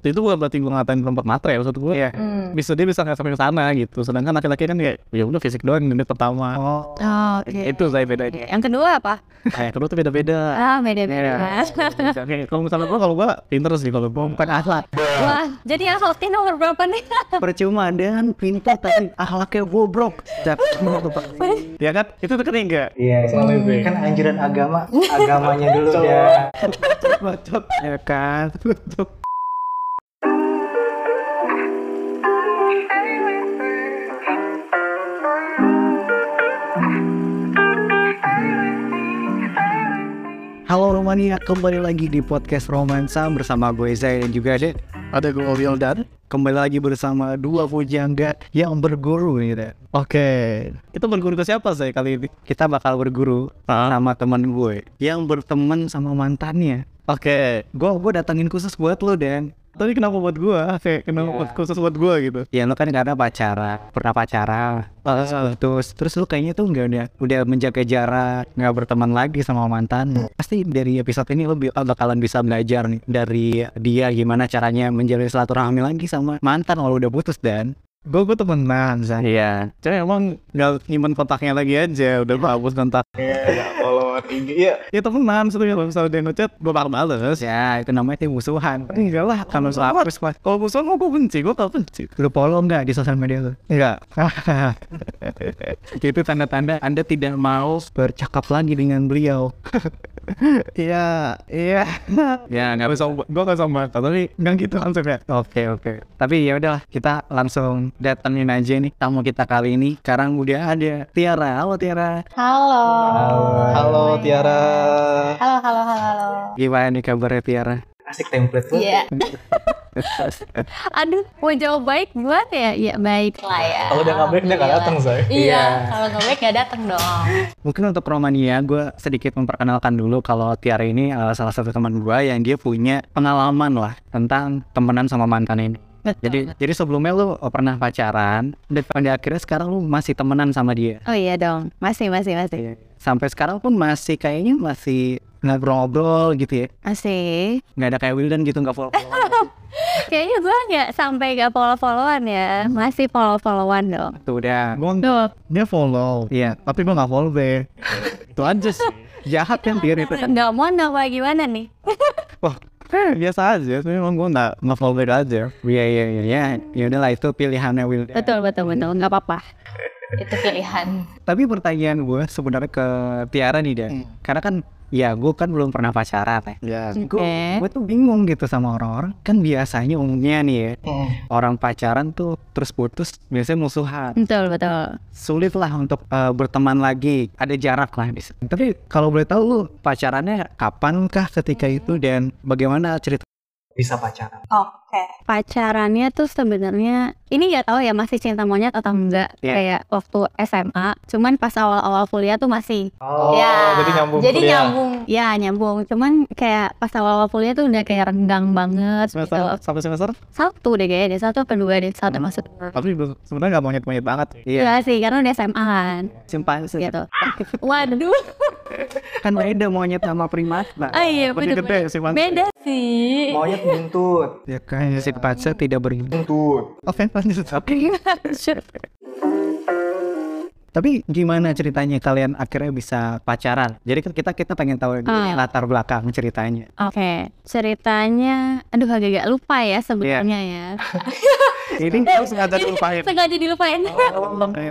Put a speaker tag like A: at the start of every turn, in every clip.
A: itu bukan berarti gue ngatain perempuan matre ya maksud gue
B: Iya.
A: ya
C: Hmm.
A: bisa dia bisa nggak sampai ke sana gitu sedangkan laki-laki kan ya ya udah fisik doang unit pertama
C: Oh, oke.
A: itu saya bedanya
C: Yang kedua apa?
A: nah, yang kedua tuh beda-beda
C: Ah, beda-beda.
A: oke kalau misalnya gue kalau gue pinter sih kalau gue bukan akhlak
C: Wah, jadi yang Alti nomor berapa nih?
B: percuma dengan pintar tapi ahlaknya bobrok
A: ya kan itu tuh ketiga
B: iya kan anjuran agama agamanya dulu ya
A: bacot ya kan Bacot.
B: halo Romania kembali lagi di podcast romansa bersama gue Zai dan juga ada
A: ada gue Oriol dan
B: kembali lagi bersama dua pujangga yang berguru gitu
A: oke itu berguru ke siapa saya kali ini
B: kita bakal berguru
A: Ah.
B: sama teman gue yang berteman sama mantannya
A: oke
B: gue gue datangin khusus buat lo dan
A: tapi kenapa buat gue kayak kenapa
B: Ya.
A: buat- khusus buat gue gitu
B: ya lo kan karena pacara pernah pacaran
A: Iya.
B: terus terus lu kayaknya tuh nggak udah udah menjaga jarak nggak berteman lagi sama
A: Hmm.
B: mantan pasti dari episode ini lo bi- bakalan bisa belajar nih dari dia gimana caranya menjalin silaturahmi lagi sama mantan kalau udah putus dan
A: gue gue temenan saya
B: iya
A: Cuma emang nggak nyimpen kontaknya lagi aja udah gue hapus kontak
D: followan IG ya
A: ya temenan sebenarnya kalau misalnya dia ngechat gue bakal bales
B: ya itu namanya tim musuhan
A: enggak lah kalau
B: kalau soal
A: soal
B: hapus mas
A: kalau musuhan gue benci gue gak benci
B: lu follow nggak di sosial media lu
A: enggak
B: itu tanda-tanda anda tidak mau bercakap lagi dengan beliau
A: iya iya
B: ya
A: nggak bisa gue gak sama tapi nggak gitu konsepnya
B: Oke oke. Tapi ya udahlah kita langsung datengin aja nih tamu kita kali ini. Sekarang udah ada Tiara. Halo Tiara.
C: Halo.
D: halo Tiara
C: Halo, halo, halo, halo.
B: Gimana nih kabarnya Tiara?
D: asik template tuh
C: Iya. Aduh, mau jawab baik gimana ya? Iya, baik lah ya.
D: kalau udah nggak baik dia nggak datang saya
C: Iya, kalau nggak baik nggak datang dong.
B: Mungkin untuk Romania gue sedikit memperkenalkan dulu kalau Tiara ini eh, salah satu teman gue yang dia punya pengalaman lah tentang temenan sama mantan ini. Jadi jadi sebelumnya lu pernah pacaran dan pada akhirnya sekarang lu masih temenan sama dia. Iya.
C: Oh iya dong, masih, masih, masih,
B: Sampai sekarang pun masih kayaknya masih ngobrol-ngobrol gitu ya.
C: masih.
B: Nggak ada kayak Wildan gitu nggak follow.
C: Kayaknya gue nggak sampai nggak follow-followan ya, masih follow-followan dong.
B: Tuh udah.
A: gue
C: Tuh,
A: dia follow
B: Iya,
A: tapi gue gak follow deh itu aja sih
B: jahat kan dia itu.
C: nggak mau nggak gimana nih?
A: wah biasa aja tapi emang gue gak nggak follow back aja
B: Iya iya iya ya. Ya udahlah itu pilihannya Wildan.
C: Betul, betul, betul, nggak apa-apa. Itu pilihan.
B: Tapi pertanyaan gue sebenarnya ke Tiara nih Dan. Karena kan ya gue kan belum pernah pacaran ya.
A: ya
B: Gue
C: Oke.
B: gue tuh bingung gitu sama orang-orang. Kan biasanya umumnya nih ya
D: Hmm.
B: orang pacaran tuh terus putus biasanya musuhan.
C: Betul, betul.
B: Sulit lah untuk eh, berteman lagi. Ada jarak lah bisa. Tapi kalau boleh tahu lu pacarannya kapankah ketika itu dan bagaimana cerita?
D: bisa pacaran
C: pacarannya tuh sebenarnya ini nggak tahu ya masih cinta monyet atau enggak
A: Hmm.
B: Iya.
C: kayak waktu SMA cuman pas awal-awal kuliah tuh masih
D: oh jadi nyambung
E: jadi
D: kuliah.
E: nyambung
C: ya nyambung cuman kayak pas awal-awal kuliah tuh udah kayak renggang banget gitu.
A: semester sampai semester
C: satu deh kayaknya deh satu atau dua deh satu maksud
A: tapi be- sebenarnya gak monyet monyet banget
B: Iya.
C: Iya sih karena udah SMA kan
B: Simpanse
C: gitu waduh
B: kan beda monyet sama primata.
C: ah, iya
A: lebih
C: bener
A: gede sih man
C: beda sih
D: monyet buntut
B: Ya kan simpanse tidak iya. berimbang.
D: buntut
A: oke lanjut
B: Tapi gimana ceritanya kalian akhirnya bisa pacaran? Jadi kan kita kita pengen tahu
C: Ah.
B: latar belakang ceritanya.
C: Oke, ceritanya, aduh agak-agak lupa
A: Iya.
C: ya sebetulnya Eh,
B: Ini
A: Terus sengaja dilupain
C: ya. Sengaja dilupain.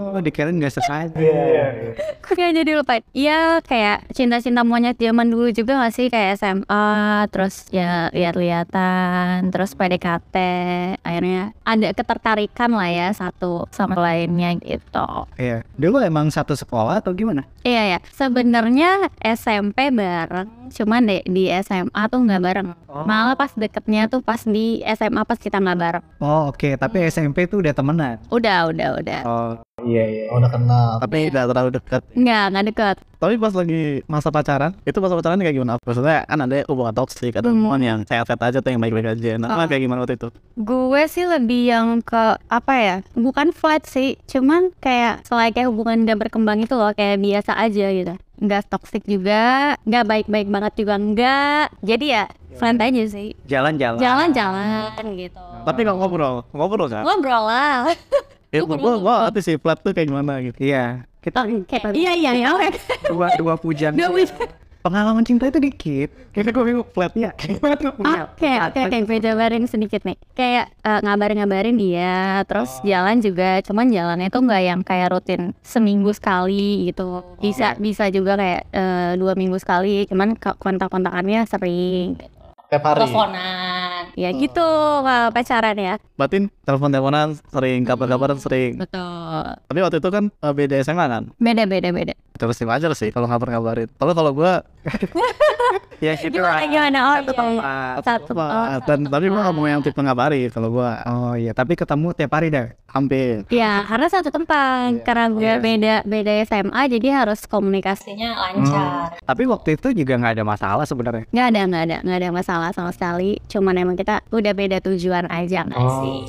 B: oh, dikirain nggak sengaja.
D: Iya.
C: Kayak jadi lupa Iya kayak cinta-cinta monyet zaman dulu juga gak sih Kayak SMA Terus ya lihat-lihatan Terus PDKT Akhirnya ada ketertarikan lah ya Satu sama lainnya gitu
B: Iya. Dulu emang satu sekolah atau gimana?
C: Iya ya sebenarnya SMP bareng Cuman di, di SMA tuh gak bareng Malah pas deketnya tuh pas di SMA pas kita gak bareng Hmm.
B: Oh oke, tapi SMP itu udah temenan.
C: Udah udah udah
B: Oh,
D: Iya, iya.
E: Oh, udah kenal.
A: tapi tidak terlalu dekat
C: Nggak, nggak dekat.
A: tapi pas lagi masa pacaran itu masa pacaran kayak gimana maksudnya kan ada hubungan toksik ada
C: Hmm.
A: hubungan yang sehat-sehat aja tuh yang baik-baik aja nah
C: Ah.
A: kayak gimana waktu itu
C: Gue sih lebih yang ke apa ya? Bukan flat sih, cuman kayak selain kayak hubungan udah berkembang itu loh, kayak biasa aja gitu. Nggak toxic juga, nggak baik-baik banget juga nggak. Jadi ya flat aja sih.
B: Jalan-jalan.
C: Jalan-jalan gitu.
B: Nah.
A: tapi kalau ngobrol ngobrol kan
C: Ngobrol lah.
A: ya, gua gua gua ngerti sih flat tuh kayak gimana gitu
B: Iya. Kita
C: Kayak- Iya iya iya. oke.
B: dua dua pujang.
C: Dua pujang.
B: Pengalaman cinta itu dikit.
A: kayaknya gua bingung flatnya
C: Oke, oke, oke, gue jabarin sedikit nih. Kayak eh, ngabarin-ngabarin dia, terus jalan juga, cuman jalannya tuh nggak yang kayak rutin seminggu sekali gitu. Bisa, bisa juga kayak eh, dua minggu sekali, cuman ko- kontak-kontakannya sering.
E: Tiap hari.
C: Teleponan. Ya gitu kalau pacaran ya.
A: batin telepon-teleponan sering kabar-kabaran sering
C: Betul.
A: tapi waktu itu kan eh, beda SMA kan
C: Beda, beda, beda.
A: terus pasti wajar sih kalau kabar-kabarin kalau kalau gua
B: Ya itu
C: Gimana, gimana? Oh, iya. Satu.
B: Ah,
A: apa dan tapi gua nggak mau yang tipe ngabari kalau gua
B: Oh iya, tapi ketemu tiap hari dah.
A: hampir
C: Ya, karena satu tempat, karena gue beda beda SMA, jadi harus komunikasinya lancar.
B: Tapi waktu itu juga nggak ada masalah sebenarnya.
C: Nggak ada, nggak ada, nggak ada masalah sama sekali. Cuman emang kita udah beda tujuan aja nggak
D: Oh.
C: sih?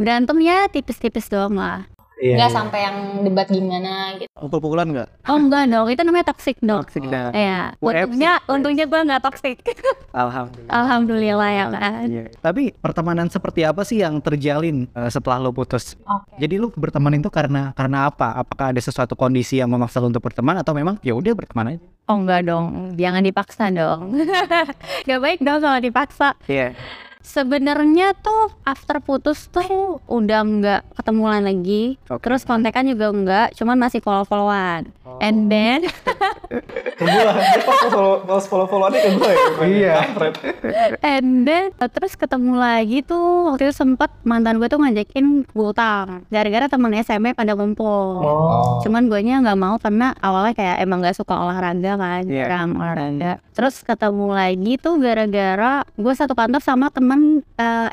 C: Berantem ya tipis-tipis doang lah.
D: Iya, iya.
C: sampai yang debat gimana gitu.
A: pukul-pukulan nggak
C: Oh enggak dong, itu namanya toxic dong.
B: Toxic dong.
C: Iya.
B: UFC.
C: Untungnya, untungnya gue nggak toxic.
D: Hmm.
B: Alhamdulillah.
C: Alhamdulillah ya kan.
B: Iya. Tapi pertemanan seperti apa sih yang terjalin eh, setelah lo putus? Jadi lu berteman itu karena karena apa? Apakah ada sesuatu kondisi yang memaksa lu untuk berteman atau memang ya udah berteman aja?
C: Oh enggak dong, jangan dipaksa dong. Gak baik dong kalau dipaksa.
B: Iya.
C: Sebenarnya tuh after putus tuh udah nggak ketemuan lagi,
B: Oke.
C: terus kontekan juga nggak, cuman masih follow followan.
D: Oh.
C: And then
D: Ke gua. Dia pas follow- pas follow-followannya ke gua ya. Iya.
C: And then uh, terus ketemu lagi tuh waktu itu sempet mantan gue tuh ngajakin bultang gara-gara temen SMA pada ngumpul.
D: Oh.
C: Cuman gue nya nggak mau karena awalnya kayak emang nggak suka olahraga kan,
B: Iya.
C: kurang olahraga. Terus ketemu lagi tuh gara-gara gue satu kantor sama temen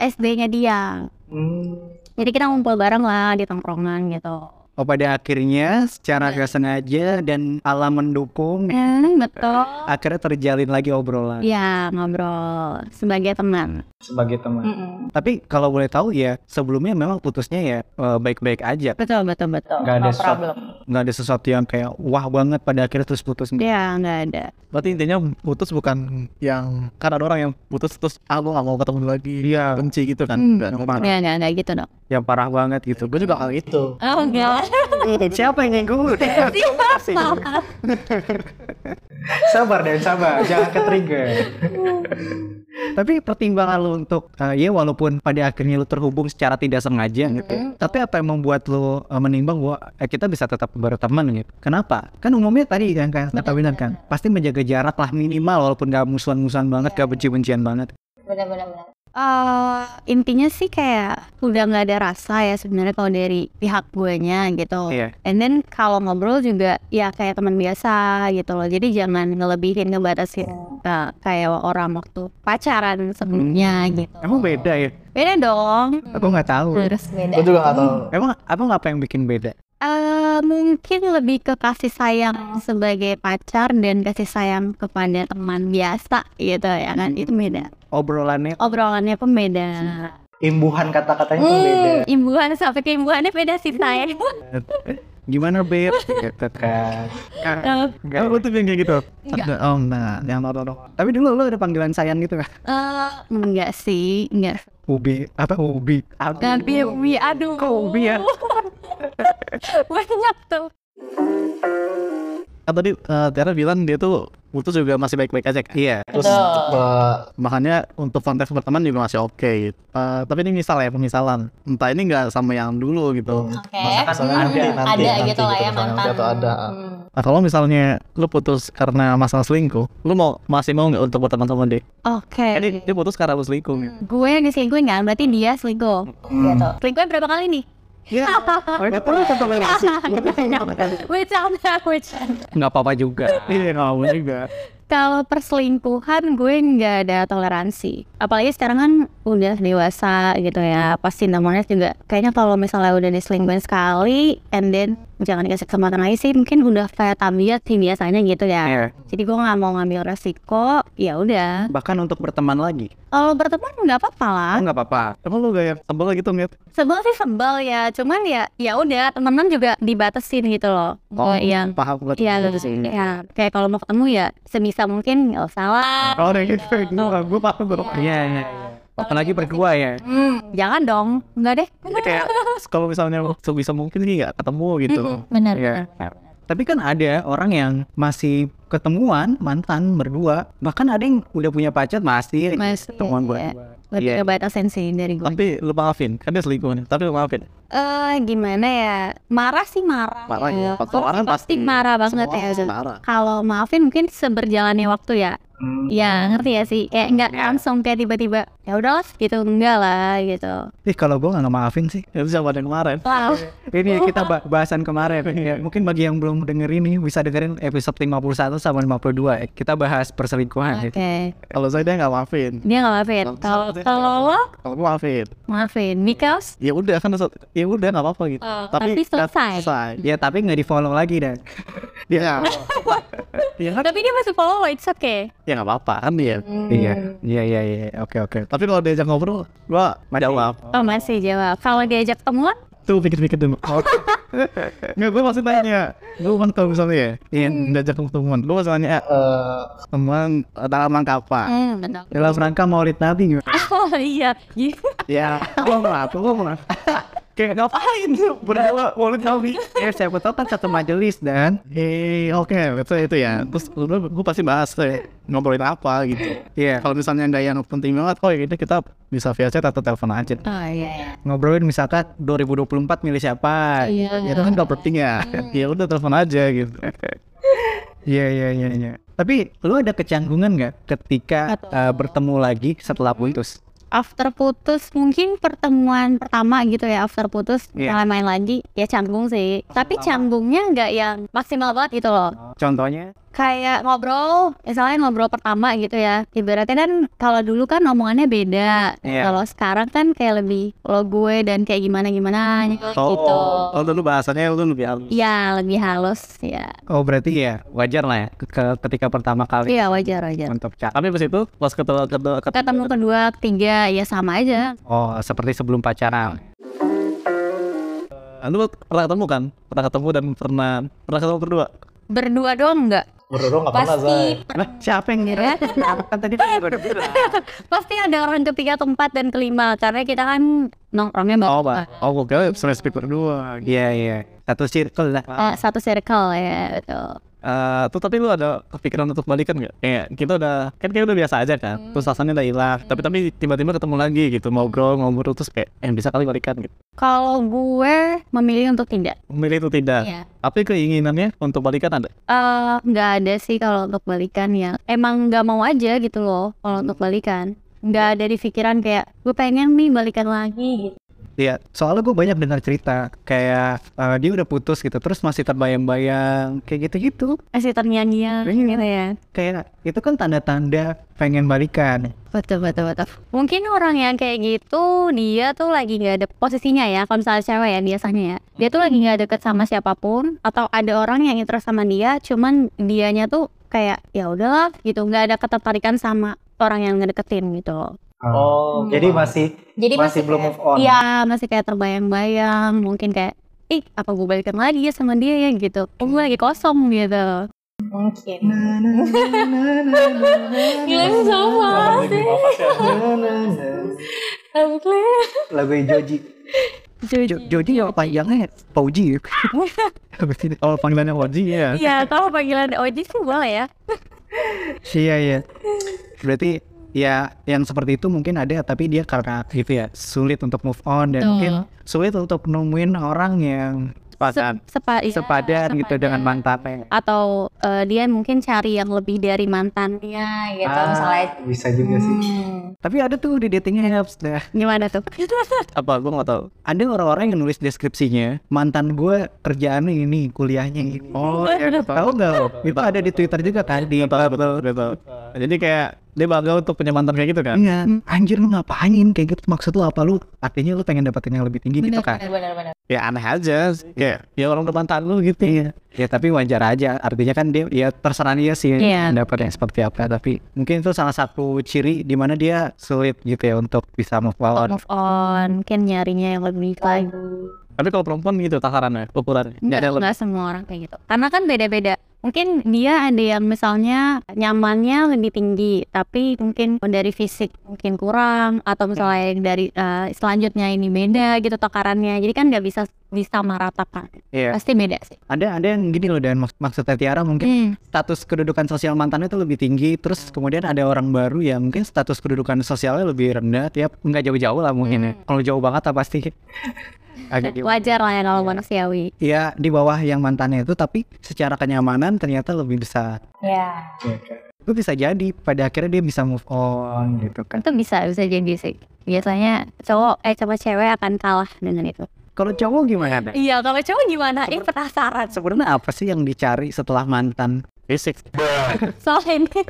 C: SD-nya dia.
D: Hmm.
C: Jadi kita ngumpul bareng lah di tongkrongan gitu.
B: Oh pada akhirnya secara
C: Iya.
B: nggak sengaja dan alam mendukung
C: Hmm, betul.
B: akhirnya terjalin lagi obrolan.
C: Ya ngobrol sebagai teman.
D: Sebagai teman.
B: Tapi kalau boleh tahu ya sebelumnya memang putusnya ya eh, baik-baik aja.
C: Betul betul betul.
D: Nggak ada sesuatu-
B: Nggak ada sesuatu yang kayak wah banget pada akhirnya terus putus.
C: Ya nggak ada.
A: berarti intinya putus bukan yang karena ada orang yang putus terus aku nggak mau ketemu lagi
B: Iya.
A: benci gitu kan
C: Hmm.
A: Nggak, nggak.
C: Ya nggak nggak gitu dong.
B: Yang parah banget gitu.
A: gue juga kali itu
C: Oh enggak.
B: Siapa yang gue?
D: Sabar dan sabar. Jangan ke trigger.
B: Tapi pertimbangan lu untuk eh, ya walaupun pada akhirnya lu terhubung secara tidak sengaja gitu. Tapi apa yang membuat lu eh, menimbang bahwa eh, kita bisa tetap berteman gitu. Kenapa? Kan umumnya tadi kan kan kata Winan kan pasti menjaga jarak lah minimal walaupun gak musuhan-musuhan banget, gak benci-bencian banget.
C: Eh, intinya sih kayak udah nggak ada rasa ya sebenarnya kalau dari pihak gue nya gitu.
B: Iya.
C: And then kalau ngobrol juga ya kayak teman biasa gitu loh. Jadi jangan ngelebihin ngebatasin eh, kayak orang waktu pacaran sebelumnya gitu.
B: Emang beda ya?
C: Beda dong.
B: Aku nggak tahu.
C: Terus beda. Hmm.
D: Gue juga gak tahu.
B: Emang abang apa yang bikin beda?
C: Eh, mungkin lebih ke kasih sayang sebagai pacar dan kasih sayang kepada teman biasa gitu ya kan itu beda
B: Obrolannya
C: obrolannya pun beda
D: Imbuhan kata-katanya tuh
C: Hmm.
D: beda.
C: imbuhan sampai ke imbuhannya beda sih saya
B: gimana beb? gitu kan. Hmm.
A: Gak, gue tuh yang kayak gitu. Ada, oh, nah, yang orang-orang.
B: Tapi dulu lu ada panggilan sayang gitu kan?
C: Eh, enggak sih enggak
B: Ubi apa ubi?
C: tapi wi aduh
B: Ubi ya.
C: banyak tuh
A: Kan tadi eh, Tiara bilang dia tuh putus juga masih baik-baik aja kan? Iya.
D: Terus eh,
A: Makanya untuk konteks berteman juga masih oke gitu. Eh, tapi ini misal ya, pemisalan. Entah ini nggak sama yang dulu gitu.
D: Masakan nanti, nanti, nanti Hmm, gitu misalnya, Atau ada.
A: Nah, kalau misalnya lu putus karena masalah selingkuh, lu mau masih mau nggak untuk berteman sama dia?
C: oke
A: Kan dia, dia putus karena lu selingkuh. gitu.
C: gue yang diselingkuhin kan berarti dia selingkuh gitu selingkuhnya berapa kali nih
A: Iya. Oh, itu perlu tetap relasi.
C: bercanda bercanda
B: Nggak apa-apa juga.
A: Iya, nggak mau juga.
C: kalau perselingkuhan gue nggak ada toleransi. Apalagi sekarang kan udah dewasa gitu ya. Pasti namanya juga kayaknya kalau misalnya udah diselingkuhin sekali, and then jangan dikasih kesempatan lagi sih. Mungkin udah kayak tabiat sih biasanya gitu ya.
A: Iya.
B: Eh,
C: Jadi gue nggak mau ngambil resiko. Ya udah.
B: bahkan untuk berteman lagi
C: Kalau berteman nggak apa-apa lah.
B: oh, nggak apa-apa
A: Emang lu gak ya? Sebel gitu ngeliat
C: Sebel sih sebel ya. Cuman ya ya udah temenan juga dibatasin gitu loh. Oh, yang
A: paham gue
C: Iya, gitu sih. Ya, kayak kalau mau ketemu ya sebisa mungkin nggak usah lah.
A: Oh udah gitu Gue gue paham gue paham.
B: iya iya apalagi berdua ya
C: Hmm, jangan dong, nggak deh.
A: Kayak kalau misalnya sebisa mungkin sih gak ketemu gitu
C: Bener.
B: Iya. Tapi kan ada orang yang masih ketemuan mantan berdua, bahkan ada yang udah punya pacar masih
C: Masih,
B: ketemuan buat.
C: iya. Lebih
B: Iya.
C: ngebatasin sih dari gue. Eh
A: Tapi lu maafin Kan dia selingkuh nih Tapi lu maafin
C: Iya, gimana ya? Marah sih marah.
A: Marah ya.
C: ya.
A: Kalau orang
C: pasti
A: pasti-
C: marah banget
A: Semua
C: ya.
A: orang marah.
C: Kalau maafin mungkin seberjalannya waktu ya.
A: Hmm.
C: Ya ngerti ya sih. Kayak nggak
A: Iya.
C: langsung kayak tiba-tiba ya udahlah gitu enggak lah gitu.
B: Ih kalau gue nggak maafin sih.
A: Ya bisa buat yang kemarin
C: Wow.
B: Ini kita bah- bahasan kemarin. Ya, mungkin bagi yang belum dengerin nih bisa dengerin episode 51 sama 52. ya. Kita bahas
A: Nah,
B: perselingkuhan.
A: gitu.
C: Oke.
B: ya.
A: Kalau saya dia gak maafin
C: Dia nggak maafin. Kalau kalau lo
A: Kalau gue maafin
C: maafin. Mikos
A: Ya udah kan Ya udah gak apa-apa gitu
C: Oh, tapi selesai.
A: selesai.
B: Ya tapi nggak di follow lagi dan
A: Dia Iya kan
C: tapi dia masih follow lo, it's okay.
A: Ya gak apa-apa kan dia
C: Hmm.
B: Iya, iya, iya, iya. Oke, oke.
A: Tapi kalau diajak ngobrol Gue jawab
C: Oh masih jawab. Kalau diajak ketemuan,
A: Tuh pikir-pikir dulu Nggak gue masih tanya Lu kan kalau misalnya ya Iya
C: Hmm.
A: Diajak teman Lu masih tanya eh,
D: Eh,
A: Teman eh, dalam rangka apa
C: hmm, benar.
B: Dalam rangka Maulid Nabi nggak?
C: Oh iya, Iya.
A: Ya Gue ngerasa Gue ngerasa Kayak ngapain tuh Berdua Walid Nabi
B: Ya siapa tahu kan satu majelis dan
A: Eh, oke, betul itu ya. Terus gue pasti bahas tuh ya, ngobrolin apa gitu.
B: Iya.
A: Kalau misalnya nggak yang penting banget, oh ya udah kita bisa via chat atau telepon aja.
C: Oh iya.
B: ngobrolin misalkan 2024 milih siapa.
C: Iya.
A: Ya itu kan nggak penting ya. ya udah telepon aja gitu.
B: Iya iya iya iya. Tapi lu ada kecanggungan nggak ketika
C: Atau-
A: eh,
B: uh, bertemu lagi setelah putus?
C: After putus mungkin pertemuan pertama gitu ya after putus
B: Iya.
C: kalau main lagi ya canggung sih. Tapi canggungnya nggak yang maksimal banget gitu loh.
B: Contohnya?
C: Kayak ngobrol, misalnya ngobrol pertama gitu ya. Ibaratnya kan kalau dulu kan omongannya beda.
B: Iya.
C: Kalau sekarang kan kayak lebih lo gue dan kayak gimana gimana gitu.
A: Oh, dulu bahasannya lu lebih halus.
C: Ya lebih halus ya.
B: Oh berarti ya wajar lah ya ke- ketika pertama kali
C: Iya wajar wajar.
B: untuk cak.
A: Tapi pas itu pas ketemu ketemu
C: Ketemu kedua, ketiga ya sama aja.
B: Oh seperti sebelum pacaran.
A: lu pernah ketemu kan? Pernah ketemu dan pernah pernah ketemu berdua.
C: Berdua doang nggak?
D: Berdua nggak pernah, Zai.
C: Pasti
B: Lah siapa yang ngira? kan tadi gue udah bilang.
C: pasti ada orang ketiga, keempat dan kelima karena kita kan nongkrongnya bareng.
A: Oh, Pak. Oh, gue kira sering speak berdua. Gitu.
B: Iya iya. Satu circle lah.
A: Oh,
C: Eh, satu circle ya betul.
A: Eh, tuh tapi lu ada kepikiran untuk balikan nggak? Kayak kita udah kan kayak udah biasa aja kan. Terus rasanya udah hilang. Tapi tapi tiba-tiba ketemu lagi gitu, ngobrol ngobrol terus kayak eh bisa kali balikan gitu.
C: Kalau gue memilih untuk tidak.
A: Memilih itu
B: Eh.
A: tidak.
C: Iya.
A: Tapi keinginannya untuk balikan ada.
C: Eh, nggak ada sih kalau untuk balikan ya. Emang nggak mau aja gitu loh kalau untuk balikan. Nggak ada di pikiran kayak gue pengen nih balikan lagi. Gitu.
B: Iya. Soalnya gue banyak dengar cerita kayak
A: eh,
B: uh, dia udah putus gitu terus masih terbayang-bayang kayak gitu-gitu.
C: Masih ternyanyi
B: Iya.
C: gitu ya.
B: Kayak itu kan tanda-tanda pengen balikan.
C: Betul, betul, betul. Mungkin orang yang kayak gitu, dia tuh lagi nggak ada posisinya ya, kalau misalnya cewek ya biasanya ya. Dia tuh lagi nggak deket sama siapapun, atau ada orang yang interest sama dia, cuman dianya tuh kayak ya udahlah gitu, nggak ada ketertarikan sama orang yang ngedeketin gitu loh.
D: Oh, jadi masih
C: Jadi
D: masih belum move on.
C: Iya, masih kayak terbayang-bayang, mungkin kayak ih apa gue balikan lagi ya sama dia ya gitu oh, gue lagi kosong gitu mungkin gila ini sama
B: lagu Joji
C: Joji
B: Joji yang panjangnya Pauji ya
A: Oh panggilannya Oji ya.
C: Iya, tahu panggilan OJ sih boleh ya.
B: iya iya berarti ya yang seperti itu mungkin ada tapi dia karena gitu ya sulit untuk move on dan
C: Betul.
B: mungkin sulit untuk nemuin orang yang sepadan
C: Se- sepa- iya,
B: sepadan gitu dengan
C: sepadan.
B: mantannya
C: atau eh, dia mungkin cari yang lebih dari mantannya gitu
D: Ah,
C: misalnya
D: bisa juga sih
C: Hmm,
B: tapi ada tuh di dating apps dah
C: gimana tuh
A: apa gue nggak tahu
B: ada orang-orang yang nulis deskripsinya mantan gue kerjaannya ini kuliahnya ini oh
A: iya,
B: tahu nggak lo? itu ada di twitter juga kan di
A: Nggak tahu. jadi kayak dia bangga untuk punya mantan kayak gitu kan
B: Iya, anjir lu ngapain kayak gitu maksud lu apa lu
D: Hmm.
B: artinya lu pengen dapetin yang lebih tinggi gitu kan
E: Benar-benar.
A: ya aneh aja kayak ya orang udah mantan lu gitu ya
B: ya tapi wajar aja artinya kan dia ya terserah dia sih
C: Iya.
B: pendapatnya seperti apa tapi mungkin itu salah satu ciri di mana dia sulit gitu ya untuk bisa move on
C: move on mungkin nyarinya yang lebih lagi
A: tapi kalau perempuan gitu takarannya ukurannya nggak
C: Nggak,
A: ada yang lebih
C: nggak semua orang kayak gitu karena kan beda-beda mungkin dia ada yang misalnya nyamannya lebih tinggi tapi mungkin dari fisik mungkin kurang atau
B: Hmm.
C: misalnya yang dari eh, selanjutnya ini beda gitu takarannya jadi kan nggak bisa bisa meratakan
B: Iya.
C: pasti beda sih
B: ada ada yang gini loh dan mak- maksudnya Tiara mungkin
C: Hmm,
B: status kedudukan sosial mantannya itu lebih tinggi terus kemudian ada orang baru yang mungkin status kedudukan sosialnya lebih rendah tiap nggak jauh-jauh lah mungkin ya
C: Hmm.
B: kalau jauh banget lah pasti agak di-
C: wajar lah ya kalau
B: Iya.
C: manusiawi
B: ya di bawah yang mantannya itu tapi secara kenyamanan ternyata lebih besar
E: Ya.
B: itu bisa jadi pada akhirnya dia bisa move on
D: Hmm.
B: gitu kan
C: itu bisa bisa jadi sih biasanya cowok eh sama cewek akan kalah dengan itu
B: kalau cowok gimana Dan?
C: iya kalau cowok gimana ini penasaran
B: sebenarnya apa sih yang dicari setelah mantan
A: fisik
C: soalnya ini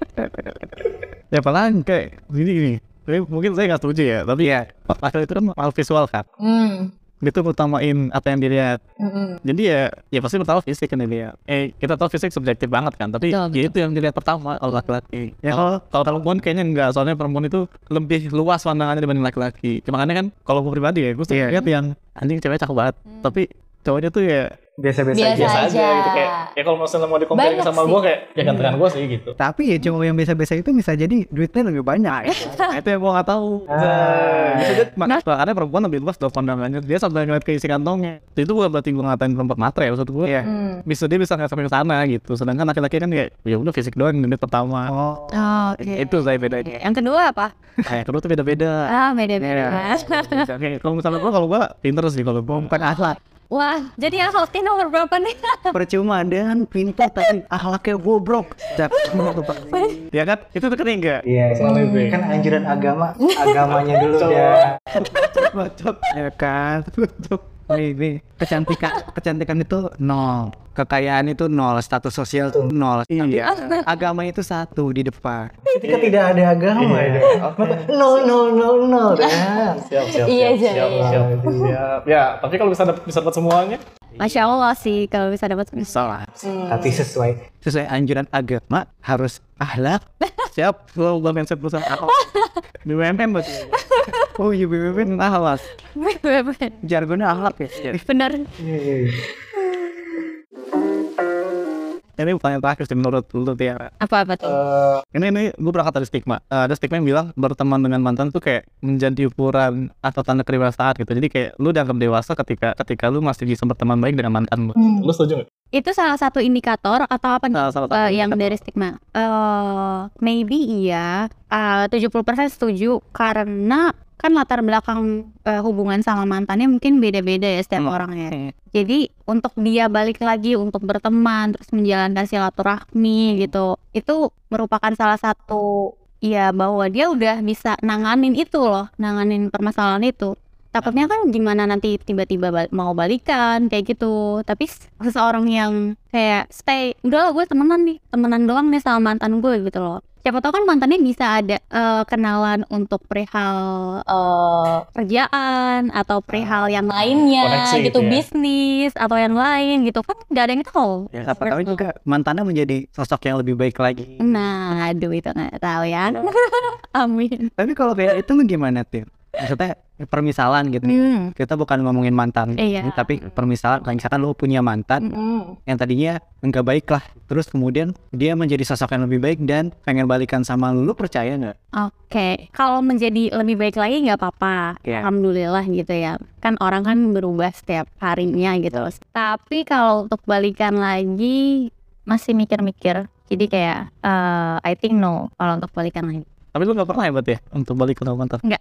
A: ya paling kayak gini gini tapi mungkin saya nggak setuju ya tapi
B: Iya.
A: ya laki itu kan mal visual kan
E: Hmm.
A: itu utamain apa yang dilihat
E: Mm-mm.
A: jadi ya ya pasti pertama fisik yang dilihat eh kita tahu fisik subjektif banget kan tapi
C: Betul,
A: ya itu yang dilihat pertama kalau laki-laki ya kalau kalau perempuan kayaknya enggak soalnya perempuan itu lebih luas pandangannya dibanding laki-laki Cuma makanya kan kalau gue pribadi ya gue sering
B: Iya.
A: lihat yang anjing cewek cakep banget tapi cowoknya tuh ya
D: biasa-biasa
E: Biasa
D: aja.
E: aja.
D: gitu kayak ya kalau misalnya mau
E: Banyak
D: dikomparin sama
E: sih. Hmm.
D: gue kayak ya gantengan gue sih gitu
B: tapi ya cowok yang biasa-biasa itu bisa jadi duitnya lebih banyak
A: nah, itu yang gue nggak tahu Nah,
E: Nah.
A: Mak- makanya perempuan lebih luas dong pandangannya dia sampai ngeliat keisi kantongnya itu bukan berarti gue ngatain perempuan matre ya maksud gue
B: Iya.
E: Hmm.
A: bisa dia bisa nggak sampai ke sana gitu sedangkan laki-laki kan kayak ya udah fisik doang yang dilihat pertama
B: oh
A: itu saya bedanya
E: Iya.
C: yang kedua apa
A: kayak kedua tuh beda-beda
C: ah beda beda
A: Oke, kalau misalnya gua kalau gua pinter sih kalau gua bukan
B: akhlak
C: wah jadi yang hotin nomor berapa nih
B: percuma dan pintar tapi akhlaknya bobrok Tapi menurut gua,
A: ya kan itu tuh kering enggak
D: iya kan anjuran agama agamanya dulu ya
B: bacot ya kan bacot nih nih kecantikan kecantikan itu nol kekayaan itu nol status sosial itu nol iya agama itu satu di depan
D: ketika tidak ada agama ya maka no no no no Dan. siap siap
E: Iya,
D: siap,
E: Jay.
D: siap, siap, Ah. siap. ya tapi kalau bisa dapat bisa dapat semuanya
C: masya allah sih kalau bisa dapat
B: salah
D: tapi sesuai
B: sesuai anjuran agama harus akhlak
A: siap gua gua mindset perusahaan apa BUMN berarti
B: oh iya BBB akhlak jargonnya akhlak ya
C: bener
D: Iya, iya, iya.
A: ini pertanyaan terakhir sih menurut lu Tiara
C: apa apa tuh
D: Eh,
A: ini ini gua berangkat dari stigma Eh, ada stigma yang bilang berteman dengan mantan tuh kayak menjadi ukuran atau tanda kedewasaan gitu jadi kayak lu dianggap dewasa ketika ketika lu masih bisa berteman baik dengan mantan lu
E: Hmm.
D: lu setuju nggak
C: itu salah satu indikator atau apa nih
A: Salah satu
C: Eh, yang dari stigma. Eh, maybe iya. Eh, 70% setuju karena kan latar belakang eh, hubungan sama mantannya mungkin beda-beda ya setiap
A: Hmm.
C: orangnya. Jadi untuk dia balik lagi untuk berteman terus menjalankan silaturahmi gitu. Itu merupakan salah satu ya bahwa dia udah bisa nanganin itu loh, nanganin permasalahan itu. Takutnya kan gimana nanti tiba-tiba bal- mau balikan kayak gitu. Tapi s- seseorang yang kayak stay, udah lah gue temenan nih, temenan doang nih sama mantan gue gitu loh. Siapa tahu kan mantannya bisa ada eh, kenalan untuk perihal eh, kerjaan atau perihal yang lainnya
D: Koneksi gitu
C: gitu,
D: ya.
C: bisnis atau yang lain gitu kan nggak ada yang tahu.
B: Ya, siapa tahu juga mantannya menjadi sosok yang lebih baik lagi.
C: Nah, aduh itu nggak tahu ya.
D: Iya.
C: Amin.
B: Tapi kalau kayak itu lu gimana, Tim? Maksudnya permisalan gitu.
D: Hmm.
B: Kita bukan ngomongin mantan,
C: Hmm. Iya.
B: tapi permisalan kayak misalkan lu punya mantan
E: Hmm.
B: yang tadinya enggak baik lah. Terus kemudian dia menjadi sosok yang lebih baik dan pengen balikan sama lu, lu percaya nggak?
C: Oke, kalau menjadi lebih baik lagi nggak apa-apa,
B: Iya.
C: alhamdulillah gitu ya. Kan orang kan berubah setiap harinya gitu. Tapi kalau untuk balikan lagi masih mikir-mikir. Jadi kayak eh, I think no kalau untuk balikan lagi.
A: tapi lu nggak pernah hebat ya untuk balik ke mantan
B: Nah,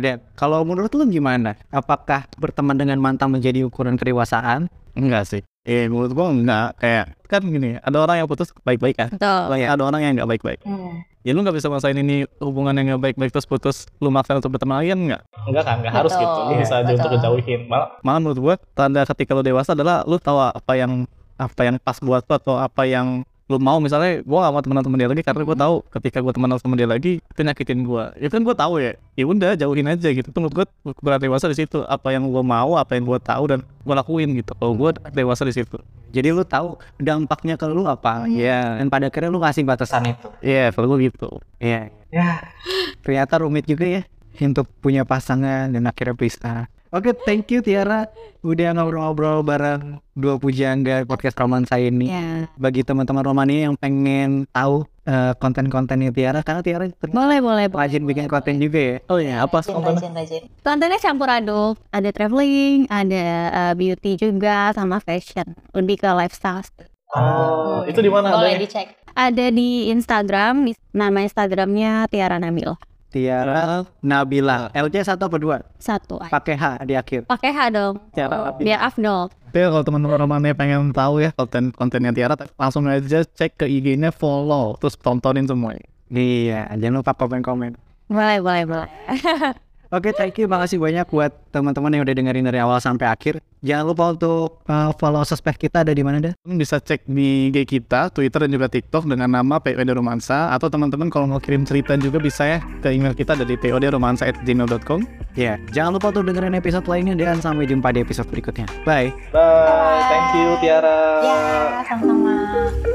B: Dan, kalau menurut lu gimana? Apakah berteman dengan mantan menjadi ukuran kedewasaan Enggak sih. Eh menurut gua enggak kayak kan gini ada orang yang putus baik-baik kan.
A: Oh,
C: Betul.
A: iya.
B: Ada orang yang nggak baik-baik.
D: Hmm.
B: Ya lu nggak bisa masain ini hubungan yang nggak baik-baik terus putus lu maksain untuk berteman lagi kan nggak.
F: Enggak kan, enggak harus
C: Betul,
F: gitu. Lu bisa aja
C: betul.
F: untuk ngejauhin. Malah
B: Malah menurut gua tanda ketika lu dewasa adalah lu tahu apa yang apa yang pas buat lu atau apa yang lu mau misalnya gua gak mau temenan sama dia lagi karena gua tahu ketika gua temenan sama dia lagi itu nyakitin gua ya kan gua tahu ya ya udah jauhin aja gitu Itu menurut gua berat dewasa di situ apa yang gua mau apa yang gua tahu dan gua lakuin gitu kalau gua dewasa di situ
D: Jadi lu tahu dampaknya ke lu apa?
C: Hmm.
B: Iya.
D: Dan pada akhirnya lu ngasih batasan.
F: pesan itu.
B: iya kalau gua gitu
D: Iya.
F: Ya,
D: Ternyata rumit juga ya untuk punya pasangan dan akhirnya pisah. Oke, thank you Tiara udah ngobrol-ngobrol bareng dua pujangga podcast romansa ini.
B: Iya.
C: Ya.
D: Bagi teman-teman Romania yang pengen tahu eh, konten-kontennya Tiara karena Tiara ternyata
C: Boleh, boleh, boleh.
D: rajin bikin konten juga ya.
B: oh iya apa sih
G: rajin, rajin.
C: Kontennya campur aduk, ada traveling, ada eh, beauty juga, sama fashion. Lebih ke lifestyle.
D: Ah.
F: oh, itu di mana
G: Boleh
F: adanya?
G: dicek.
C: Ada di Instagram, di- nama Instagramnya Tiara Nabil.
D: Tiara Nabila. LC satu apa dua?
C: Satu aja.
D: Pakai H di akhir.
C: Pakai H dong,
B: Oh,
D: Tiara Nabila.
C: biar afdol.
B: Tapi kalau teman-teman
D: Hmm.
B: romannya pengen tahu ya konten kontennya Tiara, langsung aja cek ke IG-nya, follow, terus tontonin semua.
D: Iya, jangan lupa komen-komen.
C: Boleh, boleh, boleh.
D: Oke, thank you. Makasih banyak buat teman-teman yang udah dengerin dari awal sampai akhir. Jangan lupa untuk uh, follow sosmed kita ada di mana dah?
B: Kalian Bisa cek di IG kita, Twitter dan juga TikTok dengan nama POD Romansa atau teman-teman kalau mau kirim cerita juga bisa ya ke email kita dari podromansa@gmail.com.
D: Ya, jangan lupa untuk dengerin episode lainnya dan sampai jumpa di episode berikutnya. Bye.
F: Bye. Thank you Tiara.
G: Ya, sama-sama.